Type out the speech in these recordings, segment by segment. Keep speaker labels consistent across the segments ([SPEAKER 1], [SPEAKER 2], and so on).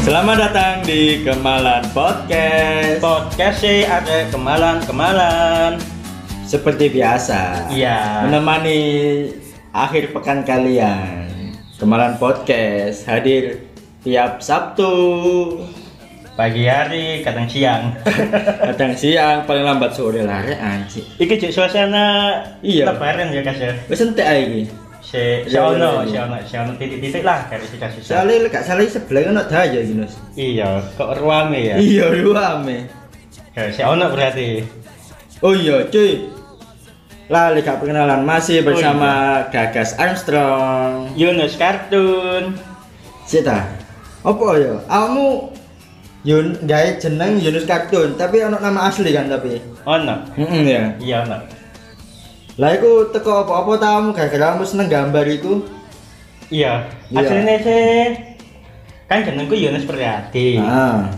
[SPEAKER 1] Selamat datang di Kemalan Podcast.
[SPEAKER 2] Podcast sih ada kemalan-kemalan.
[SPEAKER 1] Seperti biasa,
[SPEAKER 2] Iya.
[SPEAKER 1] menemani akhir pekan kalian. Kemalan Podcast hadir tiap Sabtu,
[SPEAKER 2] Pagi hari, kadang siang.
[SPEAKER 1] kadang siang, paling lambat sore lah, re, anjing.
[SPEAKER 2] Iki cek suasana
[SPEAKER 1] Iya.
[SPEAKER 2] lebaran ya Kas ya.
[SPEAKER 1] Wes entek ae iki.
[SPEAKER 2] Si si
[SPEAKER 1] Iya,
[SPEAKER 2] ono,
[SPEAKER 1] iya,
[SPEAKER 2] si
[SPEAKER 1] iya.
[SPEAKER 2] ono, si ono titik-titik lah dari kita susah.
[SPEAKER 1] Sale gak sale sebelah ono dah aja Yunus.
[SPEAKER 2] Iya, kok ruame ya.
[SPEAKER 1] Iya, ruame.
[SPEAKER 2] Ya, Si ono berarti.
[SPEAKER 1] Oh iya, cuy. Lali gak perkenalan masih bersama Gagas Armstrong.
[SPEAKER 2] Yunus kartun.
[SPEAKER 1] Sita. Apa ya? Kamu Yun gawe jeneng Yunus Kartun, tapi ono nama asli kan tapi.
[SPEAKER 2] Ono.
[SPEAKER 1] Heeh ya.
[SPEAKER 2] Iya ono.
[SPEAKER 1] Lah iku teko apa-apa ta kamu gara-gara kamu seneng gambar iku.
[SPEAKER 2] Iya.
[SPEAKER 1] Iya.
[SPEAKER 2] Aslinya sih kan jenengku Yunus Priyadi.
[SPEAKER 1] Ah.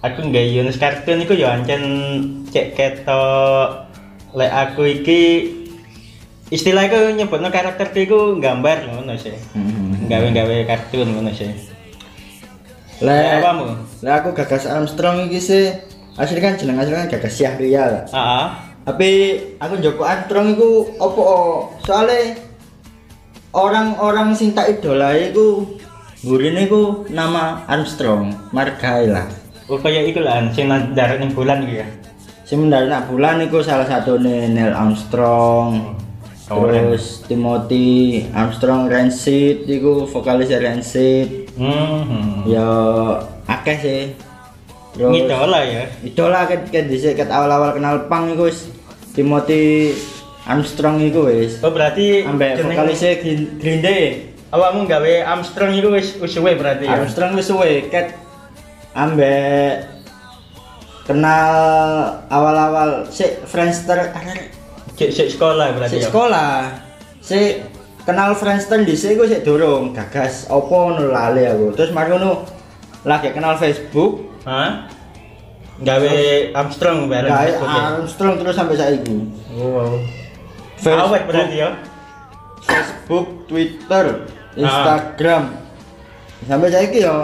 [SPEAKER 2] aku nggak Yunus kartun iku ya ancen cek ketok lek aku iki istilah iku nyebutno karakter iku gambar ngono sih gawe-gawe kartun ngono sih
[SPEAKER 1] Lah
[SPEAKER 2] Lah, apamu?
[SPEAKER 1] Lah aku Gagas Armstrong iki sih asli kan jeneng asli kan Gagas Syahrial.
[SPEAKER 2] heeh
[SPEAKER 1] Tapi aku Joko Antrong iku opo soalnya orang-orang sing tak idolai iku gurine iku nama Armstrong, margai lah.
[SPEAKER 2] oh kaya iku lah sing nang darat ning bulan gitu ya
[SPEAKER 1] Sementara nak bulan iku salah satu Neil Armstrong.
[SPEAKER 2] Keren.
[SPEAKER 1] Terus Timothy Armstrong Rancid iku vokalis Rancid.
[SPEAKER 2] hmm
[SPEAKER 1] Ya akeh sih. Terus
[SPEAKER 2] idola ya
[SPEAKER 1] idola ket ket dhisik ket awal-awal kenal punk iku wis Timothy Armstrong iku wis.
[SPEAKER 2] oh berarti
[SPEAKER 1] ambek
[SPEAKER 2] jeneng-
[SPEAKER 1] vokalisnya Green, Green Day
[SPEAKER 2] awakmu gawe Armstrong itu wis wis suwe berarti ya
[SPEAKER 1] Armstrong wis suwe ket ambek kenal awal-awal si Friendster
[SPEAKER 2] cek cek sekolah
[SPEAKER 1] si
[SPEAKER 2] berarti ya
[SPEAKER 1] sekolah si kenal Friendster di sini gue sih dorong gagas opo nu lali aku terus mari ngono lagi kenal Facebook
[SPEAKER 2] Hah? gawe Armstrong bareng
[SPEAKER 1] kayak
[SPEAKER 2] Facebook ya?
[SPEAKER 1] Armstrong terus sampai saya
[SPEAKER 2] wow awet
[SPEAKER 1] Facebook,
[SPEAKER 2] berarti ya
[SPEAKER 1] Facebook,
[SPEAKER 2] Ah.
[SPEAKER 1] Twitter, Instagram sampai saya yo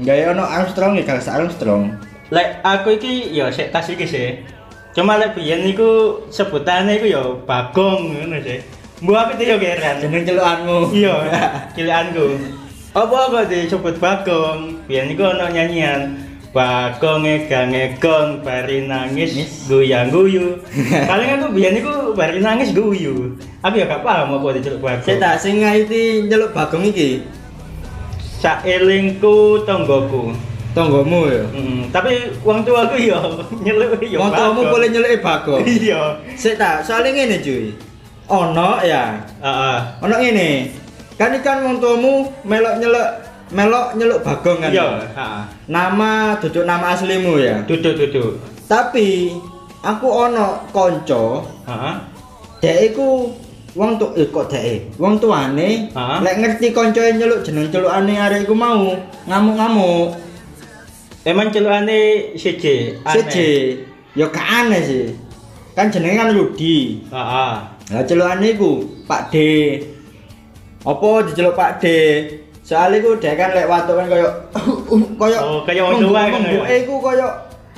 [SPEAKER 1] nggak ya ono Armstrong ya gagas Armstrong
[SPEAKER 2] Lek aku iki ya sik tas iki sih. Cuma lek biyen niku sebutane iku ya Bagong ngono sih. Mbok aku tuh ya keren.
[SPEAKER 1] jeneng celukanmu
[SPEAKER 2] Iya, cilikanku. Apa kok disebut Bagong? Biyen iku ono nyanyian Bagong ngegang ngegong bari nangis goyang guyu. Paling aku biyen iku bari nangis guyu. Aku ya gak paham apa diceluk
[SPEAKER 1] saya
[SPEAKER 2] Bagong.
[SPEAKER 1] tak sing ngaiti nyeluk bagong iki
[SPEAKER 2] Saelingku tonggoku.
[SPEAKER 1] tonggomu ya
[SPEAKER 2] Mm, tapi wong tuaku ya nyeluk ya.
[SPEAKER 1] motomu
[SPEAKER 2] Bagong.
[SPEAKER 1] boleh nyeluk bagong
[SPEAKER 2] Iya.
[SPEAKER 1] saya tak soalnya ngene cuy ono ya
[SPEAKER 2] Heeh.
[SPEAKER 1] ono ngene kan ikan motomu melok nyeluk melok nyeluk bagong kan
[SPEAKER 2] Iya, Ah,
[SPEAKER 1] nama duduk nama aslimu ya
[SPEAKER 2] duduk duduk.
[SPEAKER 1] tapi aku ono konco
[SPEAKER 2] Heeh.
[SPEAKER 1] dek iku wong tu eh, kok dek wong tuane
[SPEAKER 2] Ah.
[SPEAKER 1] lek ngerti koncoe nyeluk jeneng celukane arek iku mau ngamuk-ngamuk
[SPEAKER 2] Emang Eh, celukane siji. aneh.
[SPEAKER 1] Siji, ya gak aneh sih. Kan jenenge kan Rudi.
[SPEAKER 2] Heeh.
[SPEAKER 1] Lah celukane iku Pak D. Apa diceluk Pak D? Soale iku dhek kan lek watukan koyo koyo
[SPEAKER 2] Oh, kaya wong tua kan,
[SPEAKER 1] Mumbuke
[SPEAKER 2] ya?
[SPEAKER 1] iku koyo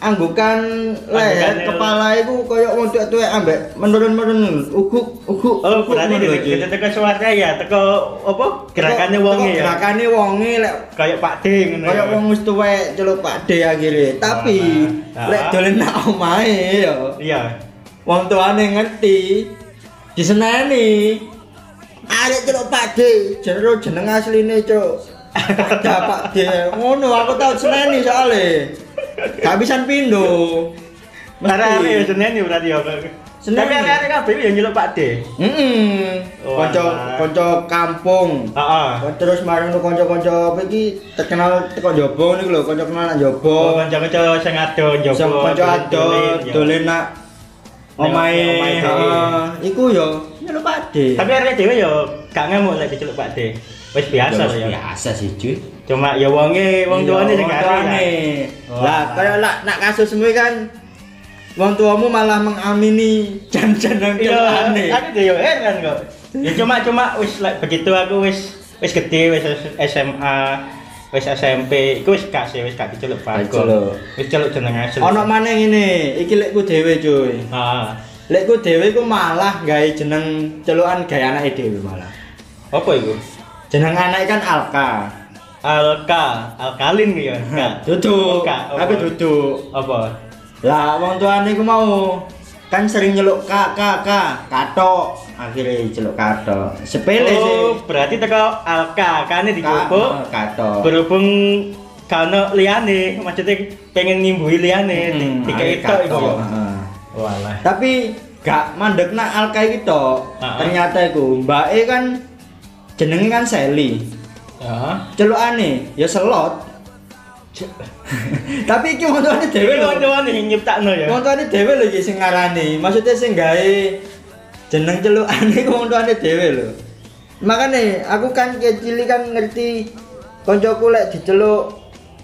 [SPEAKER 1] anggukan leher
[SPEAKER 2] Anggukan-
[SPEAKER 1] kepala iku koyo wong tuwek-tuwek ambek menurun-menurun uguk uguk.
[SPEAKER 2] Oh,
[SPEAKER 1] uguk
[SPEAKER 2] berarti
[SPEAKER 1] ngono lho, Ci.
[SPEAKER 2] kita teko suara ya, teko apa? Gerakannya
[SPEAKER 1] Teko-
[SPEAKER 2] wong
[SPEAKER 1] teko
[SPEAKER 2] ya.
[SPEAKER 1] Gerakane wonge lek
[SPEAKER 2] Kayak Pak D ngono.
[SPEAKER 1] koyo wong wis tuwek celuk Pak D akhire. Tapi
[SPEAKER 2] Ah.
[SPEAKER 1] lek dolen nak omahe ya.
[SPEAKER 2] Iya.
[SPEAKER 1] Wong tuane ngerti diseneni. Arek celuk Pakde, jero jeneng asline, Cuk. Ada Pakde. Ngono aku tau seneni soalé. Gak bisa pindho.
[SPEAKER 2] Arek-arek ya
[SPEAKER 1] Mesti.
[SPEAKER 2] Senin ya berarti ya.
[SPEAKER 1] Senin.
[SPEAKER 2] Tapi arek-arek kabeh ya nyeluk Pak D.
[SPEAKER 1] Heeh.
[SPEAKER 2] Oh, alah.
[SPEAKER 1] Kanca-kanca kampung.
[SPEAKER 2] Heeh.
[SPEAKER 1] Terus marang lu kanca-kanca apa iki terkenal teko Jobo niku lho, kanca kenal nak
[SPEAKER 2] Oh,
[SPEAKER 1] Jobo.
[SPEAKER 2] kanca-kanca sing ado njogo.
[SPEAKER 1] Sing kanca
[SPEAKER 2] dolen,
[SPEAKER 1] adol
[SPEAKER 2] ya.
[SPEAKER 1] dolen nak
[SPEAKER 2] Nengok- nengok
[SPEAKER 1] omahe.
[SPEAKER 2] omahe.
[SPEAKER 1] heeh. Iku yo nyeluk Pakde.
[SPEAKER 2] Tapi arek dhewe ya gak ngamuk lek diceluk Pak D. Wis biasa
[SPEAKER 1] Terus
[SPEAKER 2] lah ya.
[SPEAKER 1] biasa sih cuy
[SPEAKER 2] Cuma ya wonge Eh, wong tuane sing
[SPEAKER 1] Iya,
[SPEAKER 2] ngerti.
[SPEAKER 1] wong tuane.
[SPEAKER 2] Wah.
[SPEAKER 1] lah kaya lah nak kasusmu iki kan wong tuamu malah mengamini jan-jan nang
[SPEAKER 2] Iya,
[SPEAKER 1] aneh
[SPEAKER 2] aku juga heran kok. Ya cuma cuma wis like, begitu aku wis wis gede wis S- SMA wis SMP, iku wis kasih wis gak diceluk
[SPEAKER 1] Diceluk.
[SPEAKER 2] Bagong. Wis celuk jeneng asli.
[SPEAKER 1] Ono maneh ngene, iki lekku dhewe cuy.
[SPEAKER 2] Ah,
[SPEAKER 1] Lekku dhewe ku malah gawe jeneng celukan gawe anake dhewe malah.
[SPEAKER 2] apa iku?
[SPEAKER 1] Jeneng anake kan Alka.
[SPEAKER 2] Alka, alkalin ya. Alka.
[SPEAKER 1] Duduk.
[SPEAKER 2] Alka, apa?
[SPEAKER 1] Aku duduk.
[SPEAKER 2] Apa?
[SPEAKER 1] Lah wong tuane ku mau kan sering nyeluk kak kak kak katok akhirnya celuk katok sepele sih
[SPEAKER 2] Oh, berarti teko Alka kane dicupuk.
[SPEAKER 1] Kak, katok
[SPEAKER 2] Berhubung kano liane, maksudnya pengen ngimbui liane,
[SPEAKER 1] Hmm,
[SPEAKER 2] hmm, tiga
[SPEAKER 1] akhirnya
[SPEAKER 2] itu iku.
[SPEAKER 1] katok.
[SPEAKER 2] ya.
[SPEAKER 1] Heeh.
[SPEAKER 2] Walah.
[SPEAKER 1] tapi gak mandek nak alka iki tok.
[SPEAKER 2] Heeh.
[SPEAKER 1] ternyata iku mbake kan jenenge kan Sally
[SPEAKER 2] Ya.
[SPEAKER 1] celukane ya selot tapi iki wong tuane dhewe
[SPEAKER 2] Dewe
[SPEAKER 1] lho
[SPEAKER 2] kawan-kawan yang nyiptakno ya.
[SPEAKER 1] wong tuane dhewe lho iki sing ngarani maksudnya sing gawe jeneng celukane iku wong tuane dhewe lho makane aku kan kecil kan ngerti koncoku lek diceluk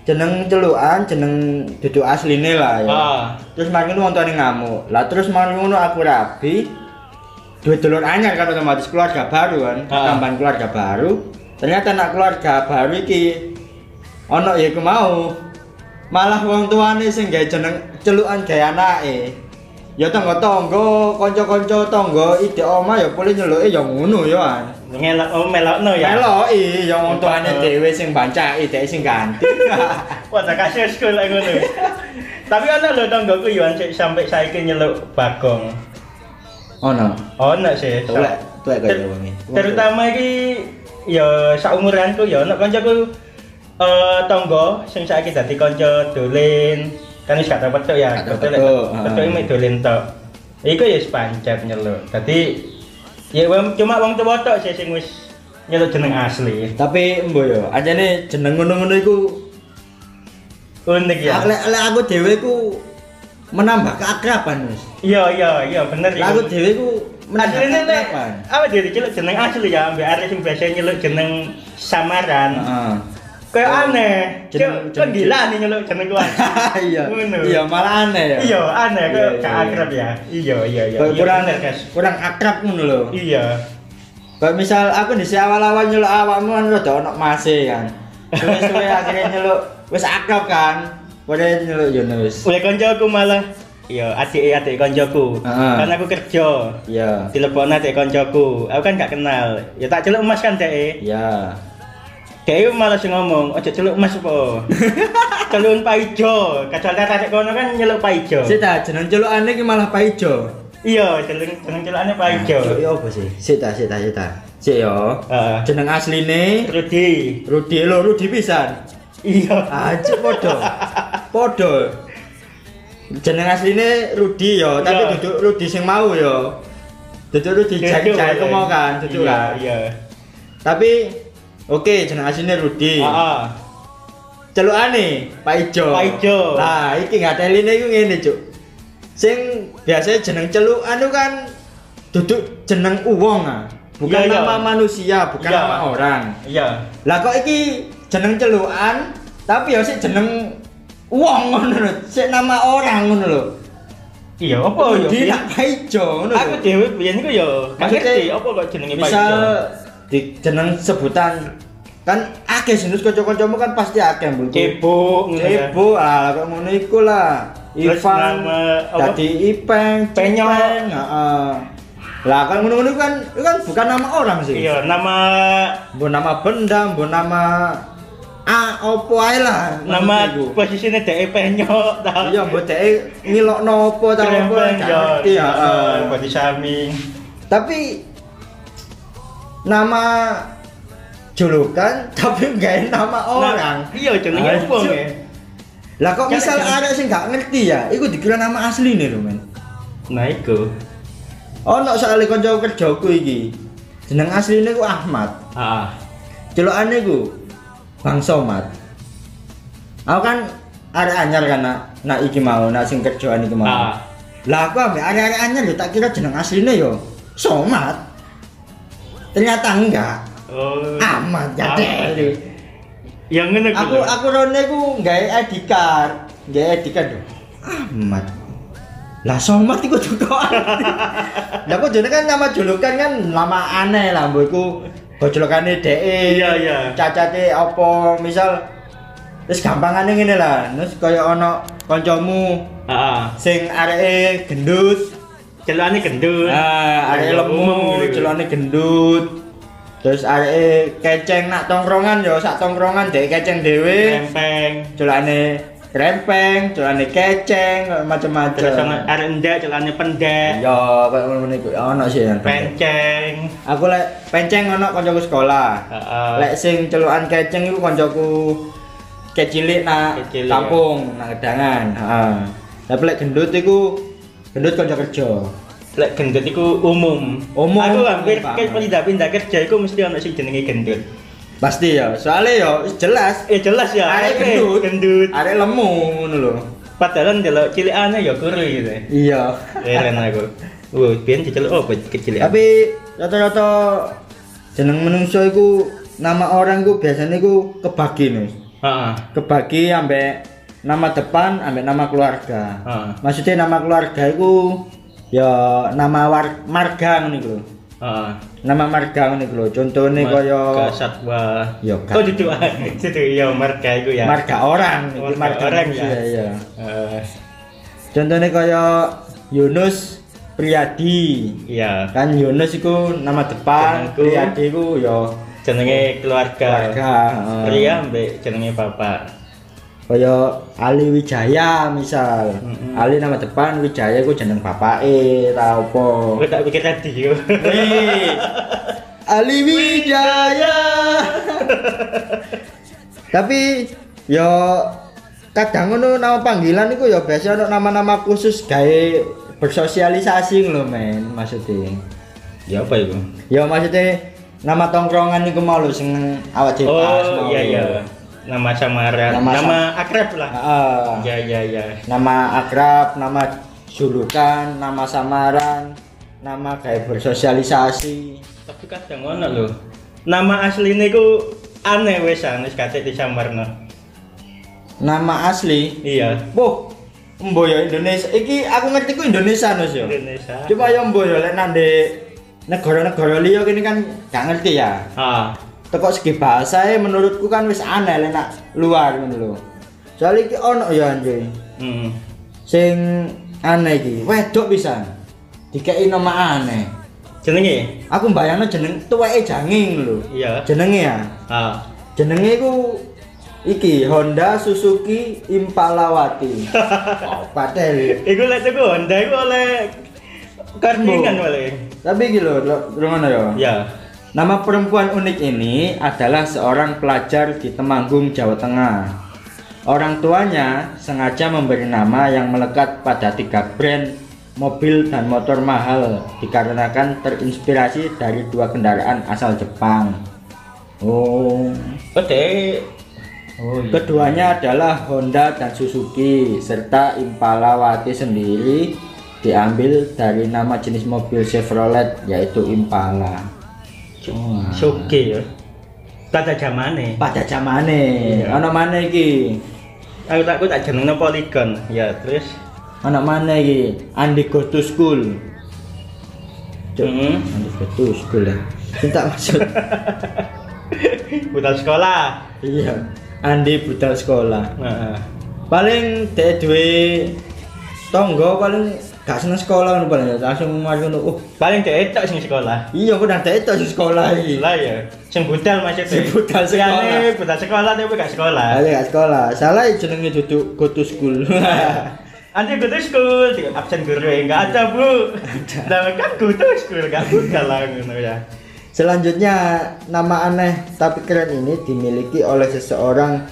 [SPEAKER 1] jeneng celukan jeneng duduk asline lah ya
[SPEAKER 2] Ah.
[SPEAKER 1] terus makin ngono tuane ngamuk lah terus makin ngono aku rabi duit dulur anyar kan otomatis keluarga baru kan
[SPEAKER 2] Ah.
[SPEAKER 1] tambahan keluarga baru ternyata anak keluarga baru iki ono ya iku mau malah wong tuane sing gawe jeneng celukan gawe anake ya tangga-tangga kanca-kanca tangga ide oma ya boleh nyeluke ya ngono ya kan
[SPEAKER 2] Ngelak oh melokno ya.
[SPEAKER 1] meloki ya wong tuane dhewe sing bancaki dhek sing ganti
[SPEAKER 2] Wah, tak kasih sekolah ngono. Tapi ana lho tanggoku yo sik sampai saiki nyeluk bagong. Oh,
[SPEAKER 1] ono
[SPEAKER 2] Ono sih.
[SPEAKER 1] tuwek tuwek kaya
[SPEAKER 2] Ter-
[SPEAKER 1] wonge
[SPEAKER 2] Terutama iki ya saumuranku ya ana kancaku eh tangga sing saiki dadi kanca dolen. Kan wis gak tau petuk ya,
[SPEAKER 1] Gak tau
[SPEAKER 2] betul
[SPEAKER 1] petuk,
[SPEAKER 2] ya. Petuke
[SPEAKER 1] ah.
[SPEAKER 2] mek dolen tok. Iku ya wis pancet nyeluk. Dadi ya wong- cuma wong tuwa tok sih sing wis nyeluk jeneng asli.
[SPEAKER 1] tapi embo yo anjane jeneng ngono-ngono iku
[SPEAKER 2] Unik ya.
[SPEAKER 1] lek lek aku dhewe ku menambah keakraban wis
[SPEAKER 2] Iya iya iya bener
[SPEAKER 1] lek aku dhewe ku menambah
[SPEAKER 2] Aslinya nek
[SPEAKER 1] keakraban
[SPEAKER 2] apa dia diceluk jeneng asli ya ambek arek sing biasa nyeluk jeneng samaran.
[SPEAKER 1] heeh Ah.
[SPEAKER 2] Kayak
[SPEAKER 1] Oh.
[SPEAKER 2] aneh.
[SPEAKER 1] Jeneng-
[SPEAKER 2] Cuk, Kan
[SPEAKER 1] jeneng-
[SPEAKER 2] gila nih nyeluk jeneng kuwi.
[SPEAKER 1] iya
[SPEAKER 2] Ngono.
[SPEAKER 1] iya malah aneh ya
[SPEAKER 2] Iya aneh
[SPEAKER 1] Iya,
[SPEAKER 2] kayak
[SPEAKER 1] iya,
[SPEAKER 2] gak
[SPEAKER 1] iya.
[SPEAKER 2] akrab ya. Iya iya iya.
[SPEAKER 1] Kayak
[SPEAKER 2] Iya,
[SPEAKER 1] kurang
[SPEAKER 2] bener, guys.
[SPEAKER 1] kurang akrab ngono lho
[SPEAKER 2] Iya.
[SPEAKER 1] Kayak misal aku di si awal-awal nyeluk awakmu kan rada ono mase kan. Suwe-suwe akhirnya nyeluk wis akrab kan. Padahal nyeluk yo wis.
[SPEAKER 2] Oleh koncoku malah Iya, adik-adik koncoku.
[SPEAKER 1] Heeh.
[SPEAKER 2] Kan aku kerja.
[SPEAKER 1] Iya.
[SPEAKER 2] Telepon adik koncoku. Aku kan gak kenal. Ya tak celuk emas kan dhek.
[SPEAKER 1] Iya.
[SPEAKER 2] Dhek malah sing ngomong, "Ojo celuk emas apa?" Celukun paijo. Kadang adik kono kan nyeluk paijo.
[SPEAKER 1] Sita jeneng celukane iki malah paijo.
[SPEAKER 2] Iya, jeneng jeneng celakane Pak Ijo.
[SPEAKER 1] Celuk yo apa sih? Sita sita sita. Sik yo.
[SPEAKER 2] Heeh.
[SPEAKER 1] Jeneng asline
[SPEAKER 2] Rudi.
[SPEAKER 1] Rudi lho Rudi pisan. Ah,
[SPEAKER 2] Iya.
[SPEAKER 1] Anjir podo. Podo. Jeneng asline Rudi yo, tapi
[SPEAKER 2] Iya.
[SPEAKER 1] duduk Rudi sing mau yo. Duduk Rudi jahit-jahit mau kan, duduk
[SPEAKER 2] Iya,
[SPEAKER 1] kan.
[SPEAKER 2] Iya.
[SPEAKER 1] Tapi oke jeneng aslinya Rudi.
[SPEAKER 2] Heeh.
[SPEAKER 1] Celukane Pak Ijo.
[SPEAKER 2] Ah, Pak Ijo.
[SPEAKER 1] Lah iki ngateline iku ngene, Cuk. Sing biasanya jeneng celukan itu kan duduk jeneng uwong ah. Bukan
[SPEAKER 2] Iya, iya.
[SPEAKER 1] nama manusia, bukan
[SPEAKER 2] Iya.
[SPEAKER 1] nama orang.
[SPEAKER 2] Iya.
[SPEAKER 1] Lah kok iki jeneng celukan tapi ya sik jeneng uwong ngono lho, sik nama orang ngono lho.
[SPEAKER 2] Iya, apa ya?
[SPEAKER 1] Rudi
[SPEAKER 2] Biyen-
[SPEAKER 1] nak Pak Ijo ngono lho.
[SPEAKER 2] Aku dhewe biyen iku ya gak
[SPEAKER 1] Maksudnya,
[SPEAKER 2] ngerti apa kok jenenge Pak
[SPEAKER 1] misal
[SPEAKER 2] Ijo.
[SPEAKER 1] di jeneng sebutan kan akeh sinus kanca-kancamu kan pasti akeh mbul.
[SPEAKER 2] Cebok ngono ya.
[SPEAKER 1] Cebo ah kok ngono iku lah.
[SPEAKER 2] Terus
[SPEAKER 1] Ivan
[SPEAKER 2] nama- apa?
[SPEAKER 1] dadi Ipeng,
[SPEAKER 2] Penyok.
[SPEAKER 1] Cepeng, heeh. Lah kan ngono-ngono kan itu kan bukan nama orang sih.
[SPEAKER 2] Iya, nama
[SPEAKER 1] Mbok nama benda, mbok nama A opo ae lah.
[SPEAKER 2] nama
[SPEAKER 1] maksudnya iku.
[SPEAKER 2] posisine dhek penyok ta.
[SPEAKER 1] Iya mbok dhek ngilokno opo ta opo
[SPEAKER 2] Krempeng
[SPEAKER 1] gak
[SPEAKER 2] ya.
[SPEAKER 1] ngerti, heeh.
[SPEAKER 2] Body shaming.
[SPEAKER 1] Tapi nama julukan tapi enggak nama orang.
[SPEAKER 2] Nah, Iya, jenenge
[SPEAKER 1] Anjir.
[SPEAKER 2] wong ya.
[SPEAKER 1] Lah kok
[SPEAKER 2] Kan-
[SPEAKER 1] misal
[SPEAKER 2] kan-
[SPEAKER 1] ada sing gak ngerti ya, iku dikira nama asli nih lho men.
[SPEAKER 2] Nah, iku.
[SPEAKER 1] Ono soalnya kanca kerjaku iki. Jeneng asline ku Ahmad.
[SPEAKER 2] Heeh.
[SPEAKER 1] Celokane ku Bang Somad. Aku kan arek anyar kan nak, nak iki mau, nak sing kerjaan iki mau.
[SPEAKER 2] Ah.
[SPEAKER 1] Lah aku ambek arek-arek anyar yo tak kira jeneng asline yo Somad. Ternyata enggak.
[SPEAKER 2] Oh.
[SPEAKER 1] Ahmad ya
[SPEAKER 2] Ahmad.
[SPEAKER 1] deh.
[SPEAKER 2] Yang ngene ku
[SPEAKER 1] Aku
[SPEAKER 2] lho.
[SPEAKER 1] aku rone ku nggawe ID card. Nggawe ID card lho.
[SPEAKER 2] Hmm.
[SPEAKER 1] Ahmad. Lah Somad iku juga. Lah kok jenenge kan nama julukan kan lama aneh lah mbok iku. Bojolokane dhek.
[SPEAKER 2] Iya, iya.
[SPEAKER 1] Cacate apa misal Terus gampangane ngene lah. Terus kaya ana kancamu
[SPEAKER 2] Heeh.
[SPEAKER 1] sing areke gendut,
[SPEAKER 2] Celukane gendut.
[SPEAKER 1] Ah, areke
[SPEAKER 2] Ya,
[SPEAKER 1] lemu,
[SPEAKER 2] gitu.
[SPEAKER 1] celane gendut. Terus areke keceng nak tongkrongan ya sak tongkrongan dhek keceng dhewe.
[SPEAKER 2] Rempeng.
[SPEAKER 1] Celane rempeng, celane keceng,
[SPEAKER 2] Terus sama
[SPEAKER 1] macam-macam.
[SPEAKER 2] arek ndek, celukane pendek.
[SPEAKER 1] Ya, kaya ngono iku ana sih yang pendek.
[SPEAKER 2] Penceng. Ah,
[SPEAKER 1] Aku lek penceng ana kancaku sekolah.
[SPEAKER 2] Heeh.
[SPEAKER 1] Lek sing celukan keceng iku kancaku kecilik nak
[SPEAKER 2] Kecilik,
[SPEAKER 1] kampung, nak gedangan. Heeh. Tapi lek gendut iku gendut kanca kerja.
[SPEAKER 2] Lek gendut iku umum. Iya,
[SPEAKER 1] Umum.
[SPEAKER 2] Aku hampir
[SPEAKER 1] Paham.
[SPEAKER 2] ke pindah-pindah kerja iku mesti ono sing jenenge gendut.
[SPEAKER 1] Pasti ya, soalnya ya jelas
[SPEAKER 2] Eh jelas ya,
[SPEAKER 1] Arek
[SPEAKER 2] arek
[SPEAKER 1] gendut.
[SPEAKER 2] gendut. Ah.
[SPEAKER 1] arek lemu ngono lho.
[SPEAKER 2] Padahal ndelok cilikane ya kuru gitu.
[SPEAKER 1] Iya.
[SPEAKER 2] Heran aku. Wuh, biyen diceluk opo kecil ya?
[SPEAKER 1] Tapi rata-rata jeneng menungso iku nama orang iku biasanya iku kebagi nih.
[SPEAKER 2] Heeh.
[SPEAKER 1] Kebagi ambek nama depan ambek nama keluarga.
[SPEAKER 2] Heeh.
[SPEAKER 1] Maksudnya nama keluarga iku ya nama war, marga ngono iku lho.
[SPEAKER 2] Heeh.
[SPEAKER 1] Nama marga ngono iku lho. Contone kaya
[SPEAKER 2] Marga satwa.
[SPEAKER 1] Ya,
[SPEAKER 2] Kok duduk situ ya marga iku ya.
[SPEAKER 1] marga orang, iki
[SPEAKER 2] Marga orang ya.
[SPEAKER 1] manusia, iya.
[SPEAKER 2] Eh,
[SPEAKER 1] Contohnya kaya Yunus Priyadi.
[SPEAKER 2] Iya.
[SPEAKER 1] Kan Yunus iku nama depan,
[SPEAKER 2] Jenengku.
[SPEAKER 1] Priyadi iku ya
[SPEAKER 2] Jenenge keluarga.
[SPEAKER 1] keluarga. eh.
[SPEAKER 2] Pria mbek jenenge bapak.
[SPEAKER 1] kaya Ali Wijaya misal
[SPEAKER 2] Mm-mm.
[SPEAKER 1] Ali nama depan Wijaya ku jeneng bapake ta apa
[SPEAKER 2] Aku tak pikir tadi yo.
[SPEAKER 1] Wih, Ali Wijaya tapi yo kadang ngono nama panggilan iku ya biasa ono nama-nama khusus gawe bersosialisasi lho men maksudnya
[SPEAKER 2] Ya apa iku?
[SPEAKER 1] ya maksudnya nama tongkrongan iku mau lho sing awak dhewe pas mau.
[SPEAKER 2] Oh iya iya. Nama samaran.
[SPEAKER 1] Nama
[SPEAKER 2] Nama,
[SPEAKER 1] sam- Ah.
[SPEAKER 2] akrab lah.
[SPEAKER 1] Heeh.
[SPEAKER 2] Iya iya iya.
[SPEAKER 1] nama akrab, nama julukan, nama samaran, nama kayak bersosialisasi.
[SPEAKER 2] Tapi kadang ngono lho. Nama asline ku aneh wis aneh kate disamarno.
[SPEAKER 1] Nama asli,
[SPEAKER 2] Iya.
[SPEAKER 1] boh, mboyo Indonesia. Iki aku ngerti ku Indonesia nus yo.
[SPEAKER 2] Indonesia.
[SPEAKER 1] Coba ya mboyo lek nang di negara-negara liya kene kan gak ngerti ya.
[SPEAKER 2] Ah,
[SPEAKER 1] Teko segi bahasa menurutku kan wis aneh lek nak luar ngono lho. Soale iki ono ya anjing.
[SPEAKER 2] hmm.
[SPEAKER 1] Sing aneh iki, wedok pisan. Dikeki nama aneh.
[SPEAKER 2] Jenenge?
[SPEAKER 1] Aku mbayangno jeneng tuweke janging lho.
[SPEAKER 2] Iya.
[SPEAKER 1] Jenenge ya.
[SPEAKER 2] Ah.
[SPEAKER 1] Jenenge iku iki Honda Suzuki Impalawati. oh, padahal.
[SPEAKER 2] Iku lek tuku Honda iku oleh kardingan
[SPEAKER 1] Bo.
[SPEAKER 2] oleh.
[SPEAKER 1] Tapi iki lho, lo- lo ngono ya.
[SPEAKER 2] Ya.
[SPEAKER 1] Nama perempuan unik ini adalah seorang pelajar di Temanggung, Jawa Tengah. Orang tuanya sengaja memberi nama yang melekat pada tiga brand mobil dan motor mahal dikarenakan terinspirasi dari dua kendaraan asal Jepang. Oh,
[SPEAKER 2] Pede. Oh
[SPEAKER 1] iya. Keduanya adalah Honda dan Suzuki serta Impala Wati sendiri diambil dari nama jenis mobil Chevrolet yaitu Impala. Wah.
[SPEAKER 2] Suki ya. Tata jamane.
[SPEAKER 1] Pada zamane,
[SPEAKER 2] Iya.
[SPEAKER 1] ana mana iki?
[SPEAKER 2] Aku tak aku tak jenengno Polygon. Ya, terus.
[SPEAKER 1] Ana mana iki? Andi Go to School. Cuk,
[SPEAKER 2] Heeh.
[SPEAKER 1] Andi Go to School ya. Tidak maksud.
[SPEAKER 2] Buta sekolah.
[SPEAKER 1] iya. Andi budal sekolah.
[SPEAKER 2] Heeh.
[SPEAKER 1] paling dek duwe tonggo paling gak seneng sekolah ngono paling langsung mari ngono oh
[SPEAKER 2] Paling dhek tok sing sekolah.
[SPEAKER 1] iya aku nang dek itu sekolah iki
[SPEAKER 2] Lah ya, sing budal maksudnya.
[SPEAKER 1] Sing budal sekolah.
[SPEAKER 2] Liyane budal sekolah tapi gak sekolah.
[SPEAKER 1] aja gak sekolah salah ya jenenge duduk go to school
[SPEAKER 2] Anti good to school, di absen guru enggak ada, Bu. Lah kan good to school enggak budal lah ngono ya.
[SPEAKER 1] selanjutnya nama aneh tapi keren ini dimiliki oleh seseorang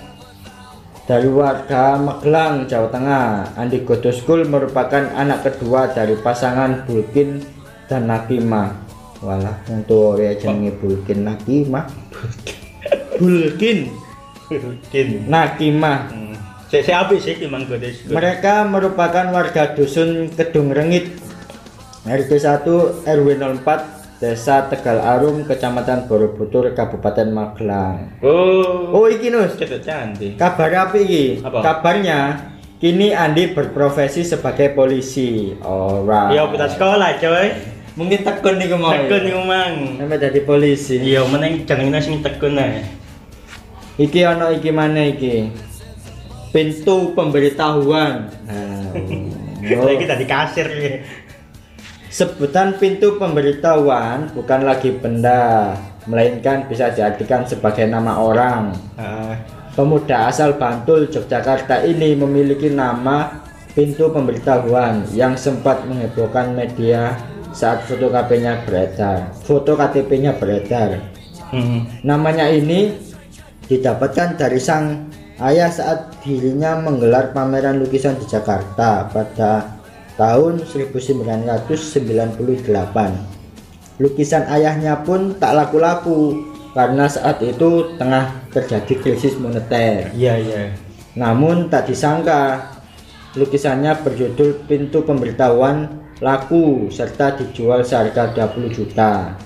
[SPEAKER 1] dari warga Magelang, Jawa Tengah. Andi Godoskul merupakan anak kedua dari pasangan Bulkin dan Nakima. Walah, untuk orang jenenge Bulkin Nakima. Bulkin
[SPEAKER 2] Rutin.
[SPEAKER 1] Nakimah.
[SPEAKER 2] Hmm. Saya saya apik sih timbang good to school.
[SPEAKER 1] Mereka merupakan warga dusun Kedung Rengit RT 1 RW 04 Desa Tegal Arum Kecamatan Borobudur Kabupaten Magelang.
[SPEAKER 2] Oh,
[SPEAKER 1] Oh iki Nus,
[SPEAKER 2] cetek cantik.
[SPEAKER 1] kabar apa iki?
[SPEAKER 2] Apa?
[SPEAKER 1] Kabarnya kini Andi berprofesi sebagai polisi. Alright.
[SPEAKER 2] Iya, budal sekolah, coy.
[SPEAKER 1] Mungkin tekun niku mau.
[SPEAKER 2] Tekun iku mang.
[SPEAKER 1] Sampai jadi polisi.
[SPEAKER 2] Iya, meneng jenengna sing tekun ae.
[SPEAKER 1] Iki ono iki mana iki? pintu pemberitahuan. Nah, oh.
[SPEAKER 2] Lagi tadi kasir ya.
[SPEAKER 1] Sebutan pintu pemberitahuan bukan lagi benda, melainkan bisa diartikan sebagai nama orang.
[SPEAKER 2] Ah,
[SPEAKER 1] Pemuda asal Bantul, Yogyakarta ini memiliki nama pintu pemberitahuan yang sempat menghebohkan media saat foto KTP-nya beredar. Foto KTP-nya beredar.
[SPEAKER 2] hmm.
[SPEAKER 1] Namanya ini didapatkan dari sang ayah saat dirinya menggelar pameran lukisan di Jakarta pada tahun 1998. Lukisan ayahnya pun tak laku-laku karena saat itu tengah terjadi krisis moneter.
[SPEAKER 2] Iya iya.
[SPEAKER 1] Namun tak disangka lukisannya berjudul Pintu Pemberitahuan laku serta dijual seharga 20 juta.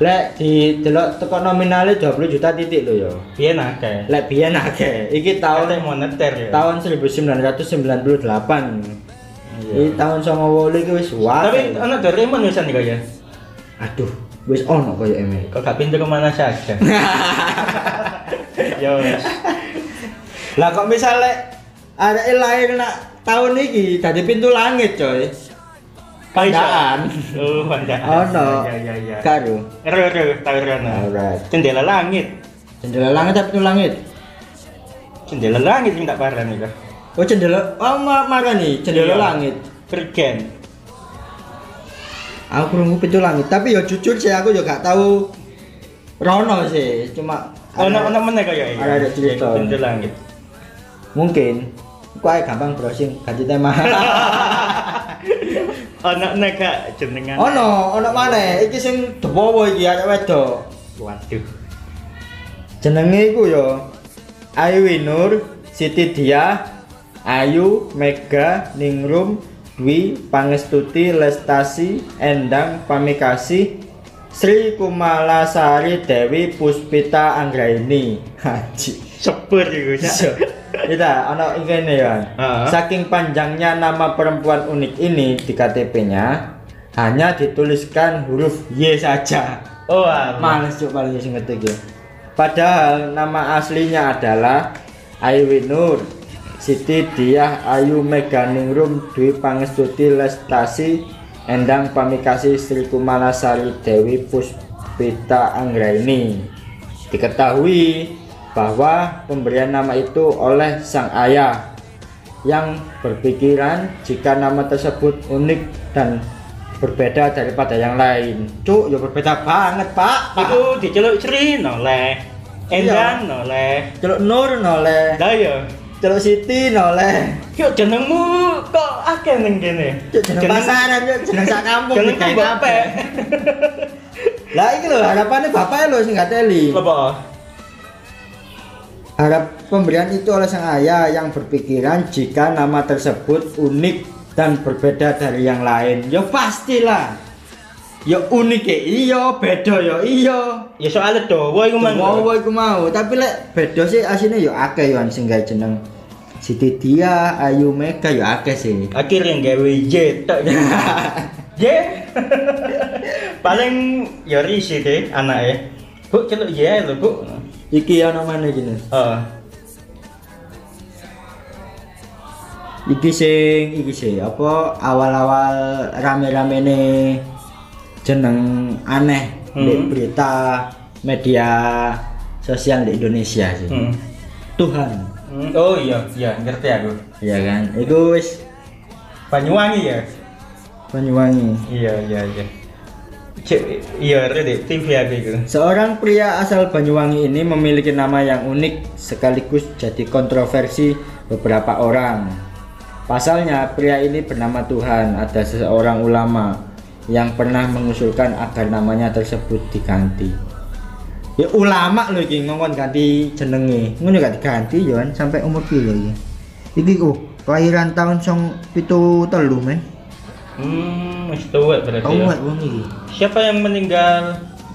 [SPEAKER 1] Lek di delok teko nominale 20 juta titik lho ya.
[SPEAKER 2] Piye nake?
[SPEAKER 1] Lek biyen akeh. Iki tahun
[SPEAKER 2] Tahun moneter ya.
[SPEAKER 1] tahun 1998.
[SPEAKER 2] Iya.
[SPEAKER 1] Iki tahun 2008 iki wis wae.
[SPEAKER 2] Tapi anu- ono Doraemon wisan iki ya.
[SPEAKER 1] aduh, wis ono koyo eme.
[SPEAKER 2] Kok gak pintu kemana saja? Ya, Yo. wes.
[SPEAKER 1] Lah kok misalnya areke lahir nak tahun iki dadi pintu langit coy.
[SPEAKER 2] Iya,
[SPEAKER 1] Pandaan.
[SPEAKER 2] Oh, pandaan.
[SPEAKER 1] Oh no.
[SPEAKER 2] Iya iya iya.
[SPEAKER 1] Karo.
[SPEAKER 2] Ero ero tahu rono.
[SPEAKER 1] Alright.
[SPEAKER 2] Jendela langit.
[SPEAKER 1] Jendela langit apa pintu langit?
[SPEAKER 2] Jendela langit minta paran iku.
[SPEAKER 1] Oh jendela, oh ma marah nih jendela
[SPEAKER 2] Iya.
[SPEAKER 1] langit.
[SPEAKER 2] Bergen.
[SPEAKER 1] Aku kurung pintu langit, tapi ya jujur sih aku juga gak tahu Rono sih, cuma
[SPEAKER 2] Ono ono meneh kaya iki.
[SPEAKER 1] Ada- ada cerita.
[SPEAKER 2] Jendela langit.
[SPEAKER 1] mungkin. Kau aja gampang browsing ganti tema.
[SPEAKER 2] Ono nek gak jenengan.
[SPEAKER 1] oh no, oh no mana? Iki sing dewowo iki ada wedo.
[SPEAKER 2] Waduh.
[SPEAKER 1] Jenenge iku yo Ayu Nur, Siti Diah, Ayu, Mega, Ningrum, Dwi, Pangestuti, Lestasi, Endang, Pamikasi, Sri Kumalasari Dewi Puspita Anggraini. Haji.
[SPEAKER 2] Sepur iku
[SPEAKER 1] Iso.
[SPEAKER 2] Cak.
[SPEAKER 1] Kita ana ngene ya.
[SPEAKER 2] Ah.
[SPEAKER 1] Saking panjangnya nama perempuan unik ini di KTP-nya hanya dituliskan huruf Y saja.
[SPEAKER 2] Oh, aman.
[SPEAKER 1] Males cuk paling sing ngetik ya. Padahal nama aslinya adalah Aiwi Nur Siti Diah Ayu Meganingrum Dwi Pangestuti Lestasi Endang Pamikasi Sri Kumalasari Dewi Puspita Anggraini Diketahui bahwa pemberian nama itu oleh sang ayah yang berpikiran jika nama tersebut unik dan berbeda daripada yang lain. Cuk, ya berbeda banget, Pak. Pak.
[SPEAKER 2] Iku diceluk Sri noleh. Endang noleh.
[SPEAKER 1] Celuk Nur noleh,
[SPEAKER 2] Lah ya.
[SPEAKER 1] celuk Siti noleh.
[SPEAKER 2] Yo jenengmu kok akeh ning kene.
[SPEAKER 1] Cuk, jeneng pasaran, cuk, jeneng sak kampung.
[SPEAKER 2] Jeneng
[SPEAKER 1] digawe
[SPEAKER 2] bapak.
[SPEAKER 1] kabeh. Lah iki lho harapannya bapak lho sing gak teli.
[SPEAKER 2] Apa?
[SPEAKER 1] Harap pemberian itu oleh sang ayah yang berpikiran jika nama tersebut unik dan berbeda dari yang lain. Ya pastilah. Ya unik ya iya, beda ya iya.
[SPEAKER 2] Ya soalnya dawa iku mang.
[SPEAKER 1] Mau wow, iku mau, tapi lek beda sih asine ya akeh yo sing gawe jeneng Siti Dia, Ayu Mega ya akeh sih.
[SPEAKER 2] Akhirnya gawe Y tok. Y. Paling ya risi deh anake. Bu celuk Y ae lho, Bu.
[SPEAKER 1] Iki ya ana mana iki Nes?
[SPEAKER 2] Oh,
[SPEAKER 1] Iki sing iki sih apa awal-awal rame-rame ne jeneng aneh
[SPEAKER 2] Hmm.
[SPEAKER 1] di berita media sosial di Indonesia sih.
[SPEAKER 2] Hmm.
[SPEAKER 1] Tuhan,
[SPEAKER 2] Hmm, Oh iya, iya ngerti aku.
[SPEAKER 1] ya kan? Itu wis
[SPEAKER 2] Banyuwangi ya.
[SPEAKER 1] Banyuwangi.
[SPEAKER 2] Iya, iya, iya. Cek iya ngerti deh TV aku iku.
[SPEAKER 1] Seorang pria asal Banyuwangi ini memiliki nama yang unik sekaligus jadi kontroversi beberapa orang. Pasalnya, pria ini bernama Tuhan. Ada seseorang ulama yang pernah mengusulkan agar namanya tersebut diganti. Ya ulama lho iki ngomong ganti jenenge. Ngono gak diganti yo kan sampai umur piro iki. Iki oh, kelahiran tahun 1973 men.
[SPEAKER 2] Hmm, wis tuwek berarti
[SPEAKER 1] Kamu
[SPEAKER 2] ya.
[SPEAKER 1] buat wong iki.
[SPEAKER 2] Siapa yang meninggal?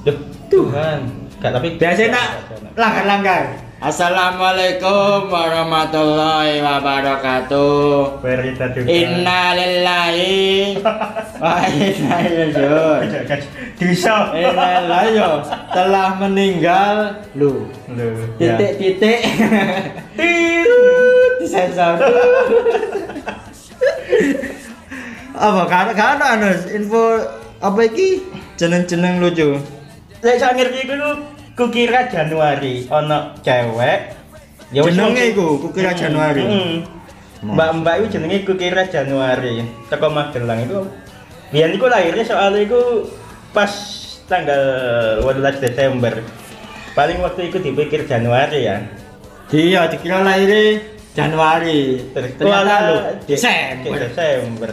[SPEAKER 2] Duh, Tuhan. Gak tapi
[SPEAKER 1] Biasanya nak langgar-langgar. Assalamualaikum warahmatullahi wabarakatuh.
[SPEAKER 2] berita duka.
[SPEAKER 1] Innalillahi wa inna ilaihi raji'un.
[SPEAKER 2] Bisa.
[SPEAKER 1] Innalillahi yo, telah meninggal lu.
[SPEAKER 2] Loh, ya.
[SPEAKER 1] Titik-titik.
[SPEAKER 2] Tiru.
[SPEAKER 1] disensor. apa kan kan anu info apa iki jeneng-jeneng lucu.
[SPEAKER 2] Lek sak ngerti iku kukira Januari ono cewek. Ya wis
[SPEAKER 1] Jenenge
[SPEAKER 2] wong-
[SPEAKER 1] iku, kukira
[SPEAKER 2] Mm,
[SPEAKER 1] Januari. Hmm.
[SPEAKER 2] mm. Mbak-mbak iku jenenge kukira Januari. Teko Magelang iku. Biyen iku lahirnya soalnya iku pas tanggal 18 Desember. Paling waktu itu dipikir Januari ya.
[SPEAKER 1] Iya, dikira lahirnya Januari. Ternyata
[SPEAKER 2] Ternyata
[SPEAKER 1] lho
[SPEAKER 2] Desember.
[SPEAKER 1] Desember.
[SPEAKER 2] Desember.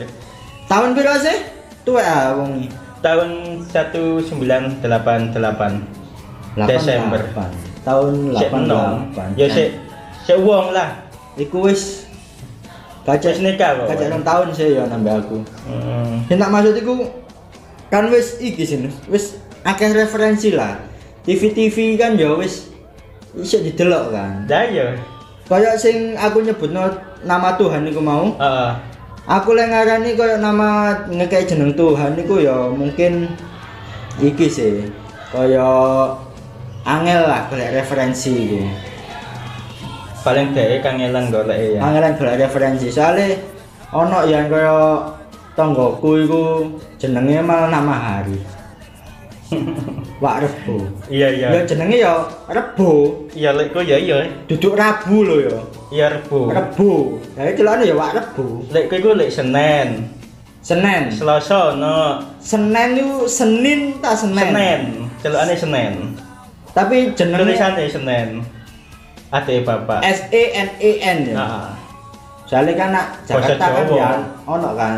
[SPEAKER 1] Tahun piro sih? Tuwek ah wong iki.
[SPEAKER 2] Tahun 1988. Desember.
[SPEAKER 1] 88. Tahun
[SPEAKER 2] Sik enom.
[SPEAKER 1] 88.
[SPEAKER 2] Ya sik sik wong lah.
[SPEAKER 1] Iku wis
[SPEAKER 2] Wis
[SPEAKER 1] kacek
[SPEAKER 2] nikah kok.
[SPEAKER 1] kacek 6 tahun sih ya nambah aku.
[SPEAKER 2] Heeh.
[SPEAKER 1] Yang tak maksud iku kan wis iki sih wis akeh referensi lah. TV-TV kan ya wis bisa didelok kan.
[SPEAKER 2] Dah ya.
[SPEAKER 1] Kayak sing aku nyebutno nama Tuhan iku mau.
[SPEAKER 2] Heeh.
[SPEAKER 1] Aku lek ngarani koyo nama ngekek jeneng Tuhan iku ya mungkin iki sih. Kaya angel lah golek referensi iku.
[SPEAKER 2] Paling dhewe kangelan golek e ya.
[SPEAKER 1] Angelan golek referensi soalnya ono yang kaya tonggoku iku jenenge malah nama hari. Wak Rebo.
[SPEAKER 2] Iya iya.
[SPEAKER 1] Ya jenenge ya Rebo.
[SPEAKER 2] Iya lek ku ya iya.
[SPEAKER 1] Duduk Rabu lho ya.
[SPEAKER 2] Iya Rebo.
[SPEAKER 1] Rebo. Jadi celokane ya Wak Rebo.
[SPEAKER 2] Lek ku iku lek Senin,
[SPEAKER 1] Senen.
[SPEAKER 2] Selasa no
[SPEAKER 1] Senen itu Senin tak Senen.
[SPEAKER 2] Senin. Celukane Senin.
[SPEAKER 1] Tapi jenenge
[SPEAKER 2] Tulisane Senin. Ade bapak.
[SPEAKER 1] S E N E N ya.
[SPEAKER 2] Heeh.
[SPEAKER 1] Soalnya kan nak
[SPEAKER 2] Nah. Bahasa
[SPEAKER 1] Jakarta kan
[SPEAKER 2] Jawa.
[SPEAKER 1] ya ono kan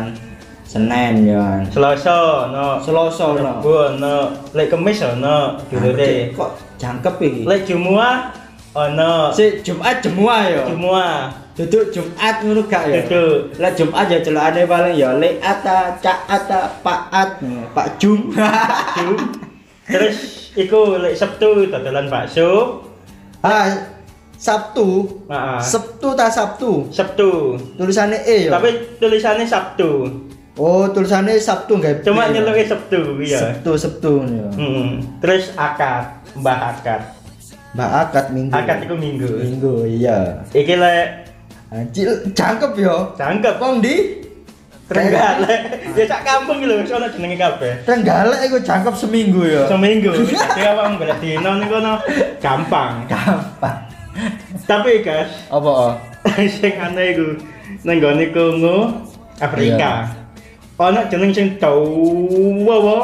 [SPEAKER 1] Senen ya.
[SPEAKER 2] Selasa no
[SPEAKER 1] Selasa ono.
[SPEAKER 2] Nah, Bu, ono lek kemis ono
[SPEAKER 1] Anjir,
[SPEAKER 2] dulure.
[SPEAKER 1] Kok jangkep iki?
[SPEAKER 2] Lek Jumaat ono
[SPEAKER 1] Si Jumat Jemua ya.
[SPEAKER 2] Jumaat.
[SPEAKER 1] Duduk Jumat ngono gak ya?
[SPEAKER 2] Duduk.
[SPEAKER 1] Lah Jumat ya celokane paling ya lek ata cak ata pak at pak jum.
[SPEAKER 2] Jum. Terus iku lek Sabtu dodolan bakso.
[SPEAKER 1] ah Sabtu.
[SPEAKER 2] Heeh.
[SPEAKER 1] Sabtu ta Sabtu.
[SPEAKER 2] Sabtu.
[SPEAKER 1] Tulisannya E ya.
[SPEAKER 2] Tapi tulisannya Sabtu.
[SPEAKER 1] Oh, tulisannya Sabtu nggak?
[SPEAKER 2] Cuma E
[SPEAKER 1] Iya.
[SPEAKER 2] nyeluke Sabtu iya.
[SPEAKER 1] Sabtu Sabtu ya.
[SPEAKER 2] Hmm. Terus akad, mbah akad. Hmm.
[SPEAKER 1] Mbak akad minggu.
[SPEAKER 2] Akad iku minggu.
[SPEAKER 1] minggu iya.
[SPEAKER 2] Iki lek
[SPEAKER 1] Anjir, jangkep yo.
[SPEAKER 2] cangkep
[SPEAKER 1] Kok di
[SPEAKER 2] Trenggalek. Ya sak kampung iki lho wis ono jenenge kabeh.
[SPEAKER 1] Trenggalek iku jangkep seminggu yo.
[SPEAKER 2] Seminggu. Jadi awak golek dino niku no gampang.
[SPEAKER 1] Gampang.
[SPEAKER 2] Tapi guys,
[SPEAKER 1] Apa? oh?
[SPEAKER 2] sing aneh iku nang gone Kongo, Afrika. Ono jeneng sing dawa wa.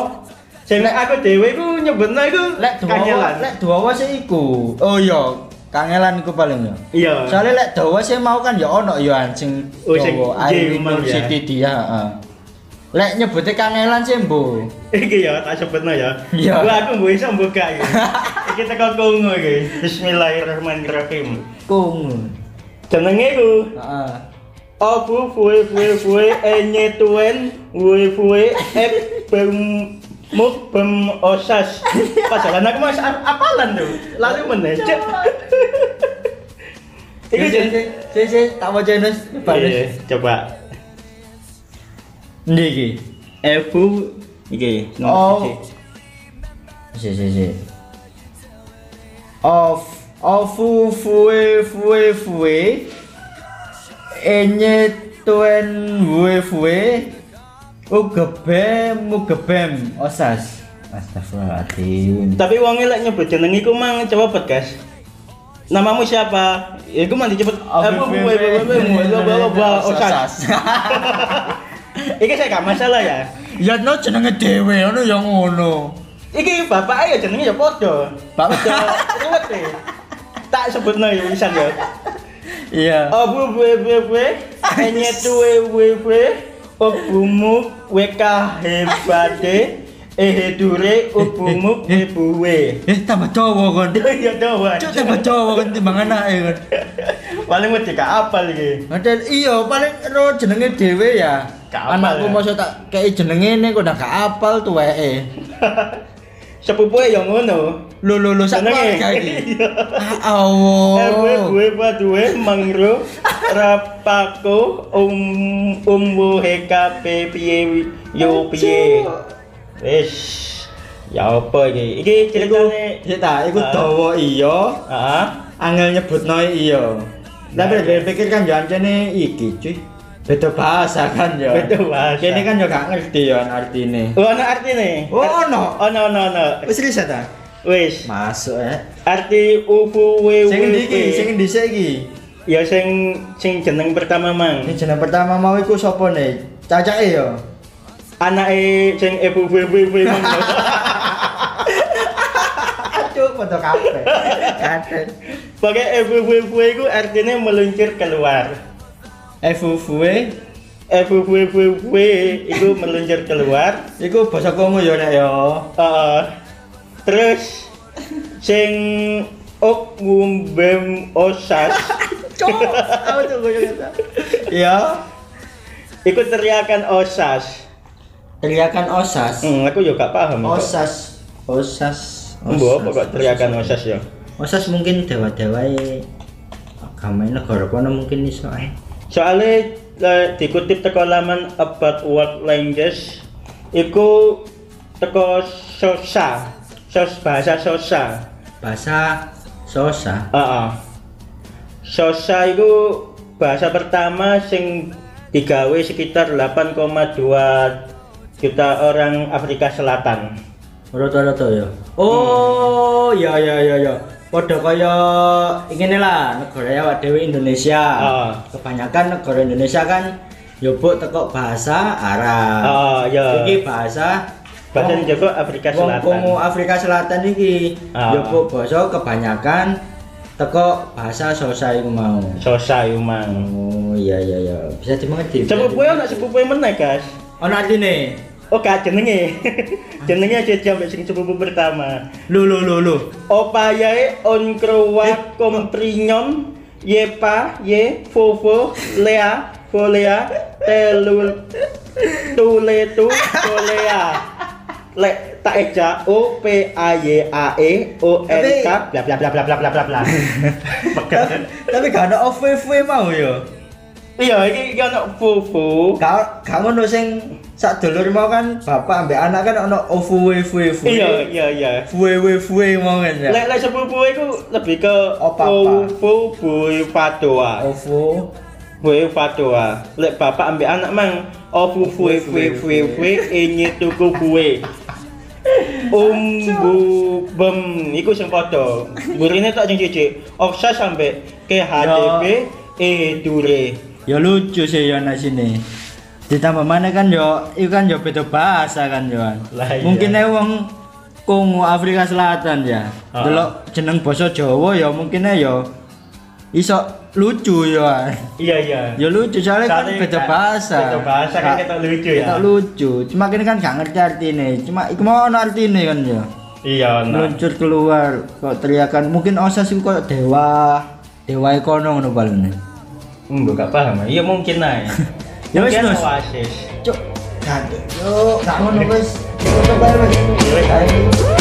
[SPEAKER 2] Sing nek aku dhewe iku nyebutna iku
[SPEAKER 1] Lek
[SPEAKER 2] kangelan.
[SPEAKER 1] Dawa, lek Dawa sih iku. Oh iya, kangelan iku paling ya.
[SPEAKER 2] Iya.
[SPEAKER 1] Soalnya lek Dawa sih mau kan ya ono ya anjing
[SPEAKER 2] Oh, sing
[SPEAKER 1] Dawa
[SPEAKER 2] iya,
[SPEAKER 1] Air
[SPEAKER 2] emang ya.
[SPEAKER 1] City dia, heeh. Lek nyebutnya kangelan sih, Bu.
[SPEAKER 2] Iki ya tak sebutno ya.
[SPEAKER 1] Iya.
[SPEAKER 2] Gua aku mbok iso buka iki. Iki teko Kongo iki. Bismillahirrahmanirrahim.
[SPEAKER 1] Kung.
[SPEAKER 2] Jenenge iku
[SPEAKER 1] Heeh.
[SPEAKER 2] Obu fue fue fue enye tuen fue fue ek bem muk bem osas. Padahal aku masih ap- apalan tuh. Lalu menecek. Iki
[SPEAKER 1] Iki sih,
[SPEAKER 2] jenenge.
[SPEAKER 1] sih, sih, tak mau jenis,
[SPEAKER 2] Iya,
[SPEAKER 1] balik.
[SPEAKER 2] Coba.
[SPEAKER 1] Ndi iki.
[SPEAKER 2] Ebu iki
[SPEAKER 1] Oh.
[SPEAKER 2] nomor siji.
[SPEAKER 1] Sih, sih, sih. Of, ofu fue fue fue. Enye tuen fue fue. Ugebem, ugebem, osas. Astagfirullahaladzim.
[SPEAKER 2] Tapi wong lek nyebut jeneng iku mang cepet guys. Namamu siapa? Ya iku mandi cepet.
[SPEAKER 1] Oh,
[SPEAKER 2] Ebu fue fue fue fue fue fue osas. Iki saya gak masalah ya.
[SPEAKER 1] Ya no jenenge dhewe ngono ya ngono.
[SPEAKER 2] Iki bapaknya ya jenenge ya padha.
[SPEAKER 1] Bapak.
[SPEAKER 2] ruwet deh. Tak sebutno ya wisan ya.
[SPEAKER 1] Iya.
[SPEAKER 2] Obu bwe bwe bwe enye tuwe bwe bwe obumu weka hebate ehe dure obumu bwe bwe.
[SPEAKER 1] Eh tambah Jawa kon.
[SPEAKER 2] Ya doa.
[SPEAKER 1] Cuk tambah Jawa kon timbang anake kon.
[SPEAKER 2] Paling wedi gak apal iki.
[SPEAKER 1] Padahal iya paling ro jenenge dhewe ya.
[SPEAKER 2] Gak apal
[SPEAKER 1] Anakku
[SPEAKER 2] ya.
[SPEAKER 1] masa tak kei jenenge nek kok udah gak apal tuweke.
[SPEAKER 2] Sepupuke ya ngono.
[SPEAKER 1] Lho lho lho sak
[SPEAKER 2] Jenenge.
[SPEAKER 1] keluarga iki.
[SPEAKER 2] Iya.
[SPEAKER 1] Ah
[SPEAKER 2] Ewe
[SPEAKER 1] awo.
[SPEAKER 2] gue paduwe mangro rapako um umbu hekape piye yo piye. Wis. Ya apa iki? Iki ceritane
[SPEAKER 1] Ya ta, iku
[SPEAKER 2] Ah.
[SPEAKER 1] dawa iya,
[SPEAKER 2] Heeh.
[SPEAKER 1] angel nyebutno iya. Tapi lebih pikir kan yo ancene iki cuy. Beda bahasa kan yo.
[SPEAKER 2] Beda bahasa.
[SPEAKER 1] Kene kan yo gak ngerti yo artine.
[SPEAKER 2] Oh, ono artine.
[SPEAKER 1] Oh ono.
[SPEAKER 2] Ono ono ono.
[SPEAKER 1] Wis riset ta?
[SPEAKER 2] Wis,
[SPEAKER 1] Masuk eh.
[SPEAKER 2] arti ufu we
[SPEAKER 1] Sing
[SPEAKER 2] we,
[SPEAKER 1] endi iki?
[SPEAKER 2] we.
[SPEAKER 1] Sing endi sik iki?
[SPEAKER 2] ya sing sing jeneng pertama
[SPEAKER 1] Ini
[SPEAKER 2] mang.
[SPEAKER 1] jeneng pertama mau iku sapa ne? Cacake yo.
[SPEAKER 2] Anake sing ebu we we we mang.
[SPEAKER 1] Aduh, foto kabeh. Kabeh.
[SPEAKER 2] Pokoke ebu we we iku artine meluncur keluar.
[SPEAKER 1] Eh, Efufue
[SPEAKER 2] Ebu we we we iku meluncur keluar.
[SPEAKER 1] iku basa Kongo yo nek yo.
[SPEAKER 2] Eh, terus sing ok wumbem osas
[SPEAKER 1] Cok, aku tuh gue kata. Iya.
[SPEAKER 2] iku teriakan osas.
[SPEAKER 1] Teriakan osas.
[SPEAKER 2] Hmm, aku juga gak paham. kok.
[SPEAKER 1] Osas. Osas.
[SPEAKER 2] Mbok apa kok teriakan osas ya?
[SPEAKER 1] Osas mungkin dewa-dewa agama negara kono mungkin iso eh. ae.
[SPEAKER 2] Soale eh, dikutip teko laman about world languages iku teko sosa, sos bahasa sosa.
[SPEAKER 1] Bahasa sosa.
[SPEAKER 2] Heeh. Sosa iku bahasa pertama sing digawe sekitar 8,2 juta orang Afrika Selatan.
[SPEAKER 1] Rata-rata ya. Oh, ya ya ya ya. Padha kaya ngene lah negara awak dhewe Indonesia.
[SPEAKER 2] Ah.
[SPEAKER 1] Kebanyakan negara Indonesia kan yo mbok tekok bahasa Arab.
[SPEAKER 2] Oh, ya.
[SPEAKER 1] Iki bahasa
[SPEAKER 2] Bahasa yang juga Afrika
[SPEAKER 1] Wong Kongo
[SPEAKER 2] Selatan.
[SPEAKER 1] Afrika Selatan iki
[SPEAKER 2] Ah.
[SPEAKER 1] yo kok basa kebanyakan tekok bahasa Sosa iku mau.
[SPEAKER 2] Sosa umang.
[SPEAKER 1] Oh iya iya iya bisa dimengerti. bisa
[SPEAKER 2] Sepupu
[SPEAKER 1] dimengerti.
[SPEAKER 2] ono sepupu meneh, Guys.
[SPEAKER 1] Ono artine.
[SPEAKER 2] Oh, gak jenenge. jenenge aja jam sing sepupu pertama.
[SPEAKER 1] Lho lho lho lho.
[SPEAKER 2] Opayae
[SPEAKER 1] Eh.
[SPEAKER 2] on krowa komprinyon yepa ye fofo lea folea telul tuletu folea le tak eja o p a y a e o n k bla bla bla bla bla bla bla bla
[SPEAKER 1] Tapi- Tapi gak ono OVV mau yo.
[SPEAKER 2] iya iki iki ono fofo
[SPEAKER 1] Kau kau ngono sing sak dulur mau kan bapak ambek anak kan ono ovwe fwe fwe.
[SPEAKER 2] iya iya iya
[SPEAKER 1] Fwe fwe fwe mau kan ya.
[SPEAKER 2] lek lek sepupu iku lebih ke
[SPEAKER 1] Opa-opa.
[SPEAKER 2] fofo boy padoa
[SPEAKER 1] Ovo.
[SPEAKER 2] Wei Fatwa, ah. lek bapak ambek anak mang Oh, opu fue fue fwe fwe enye eh, tuku kue. Umbu bem iku sing padha. Burine tok sing cici. Oksa sampe KHDP E dure.
[SPEAKER 1] Ya lucu sih ya nasi ini. Ditambah mana kan yo, itu kan yo beda bahasa kan yo.
[SPEAKER 2] Lah iya.
[SPEAKER 1] Mungkin ae wong Kongo Afrika Selatan ya.
[SPEAKER 2] Ah.
[SPEAKER 1] Delok jeneng basa Jawa ya mungkin ae yo iso lucu yo.
[SPEAKER 2] Iya iya.
[SPEAKER 1] Ya lucu soalnya kan
[SPEAKER 2] Soalnya
[SPEAKER 1] beda
[SPEAKER 2] kan
[SPEAKER 1] bahasa.
[SPEAKER 2] beda bahasa kan ketok lucu ya.
[SPEAKER 1] Ketok lucu. Cuma kini kan gak ngerti artine. Cuma iku mau ono artine kan ya.
[SPEAKER 2] Iya ono.
[SPEAKER 1] meluncur keluar kok teriakan mungkin osas itu kok dewa dewa ekono ngono balene
[SPEAKER 2] Mbok gak paham. Iya mungkin ae.
[SPEAKER 1] Ya wis, Nus.
[SPEAKER 2] wasis.
[SPEAKER 1] cuk gak yo gak ngono wis tutup ae wis
[SPEAKER 2] Iya, iya.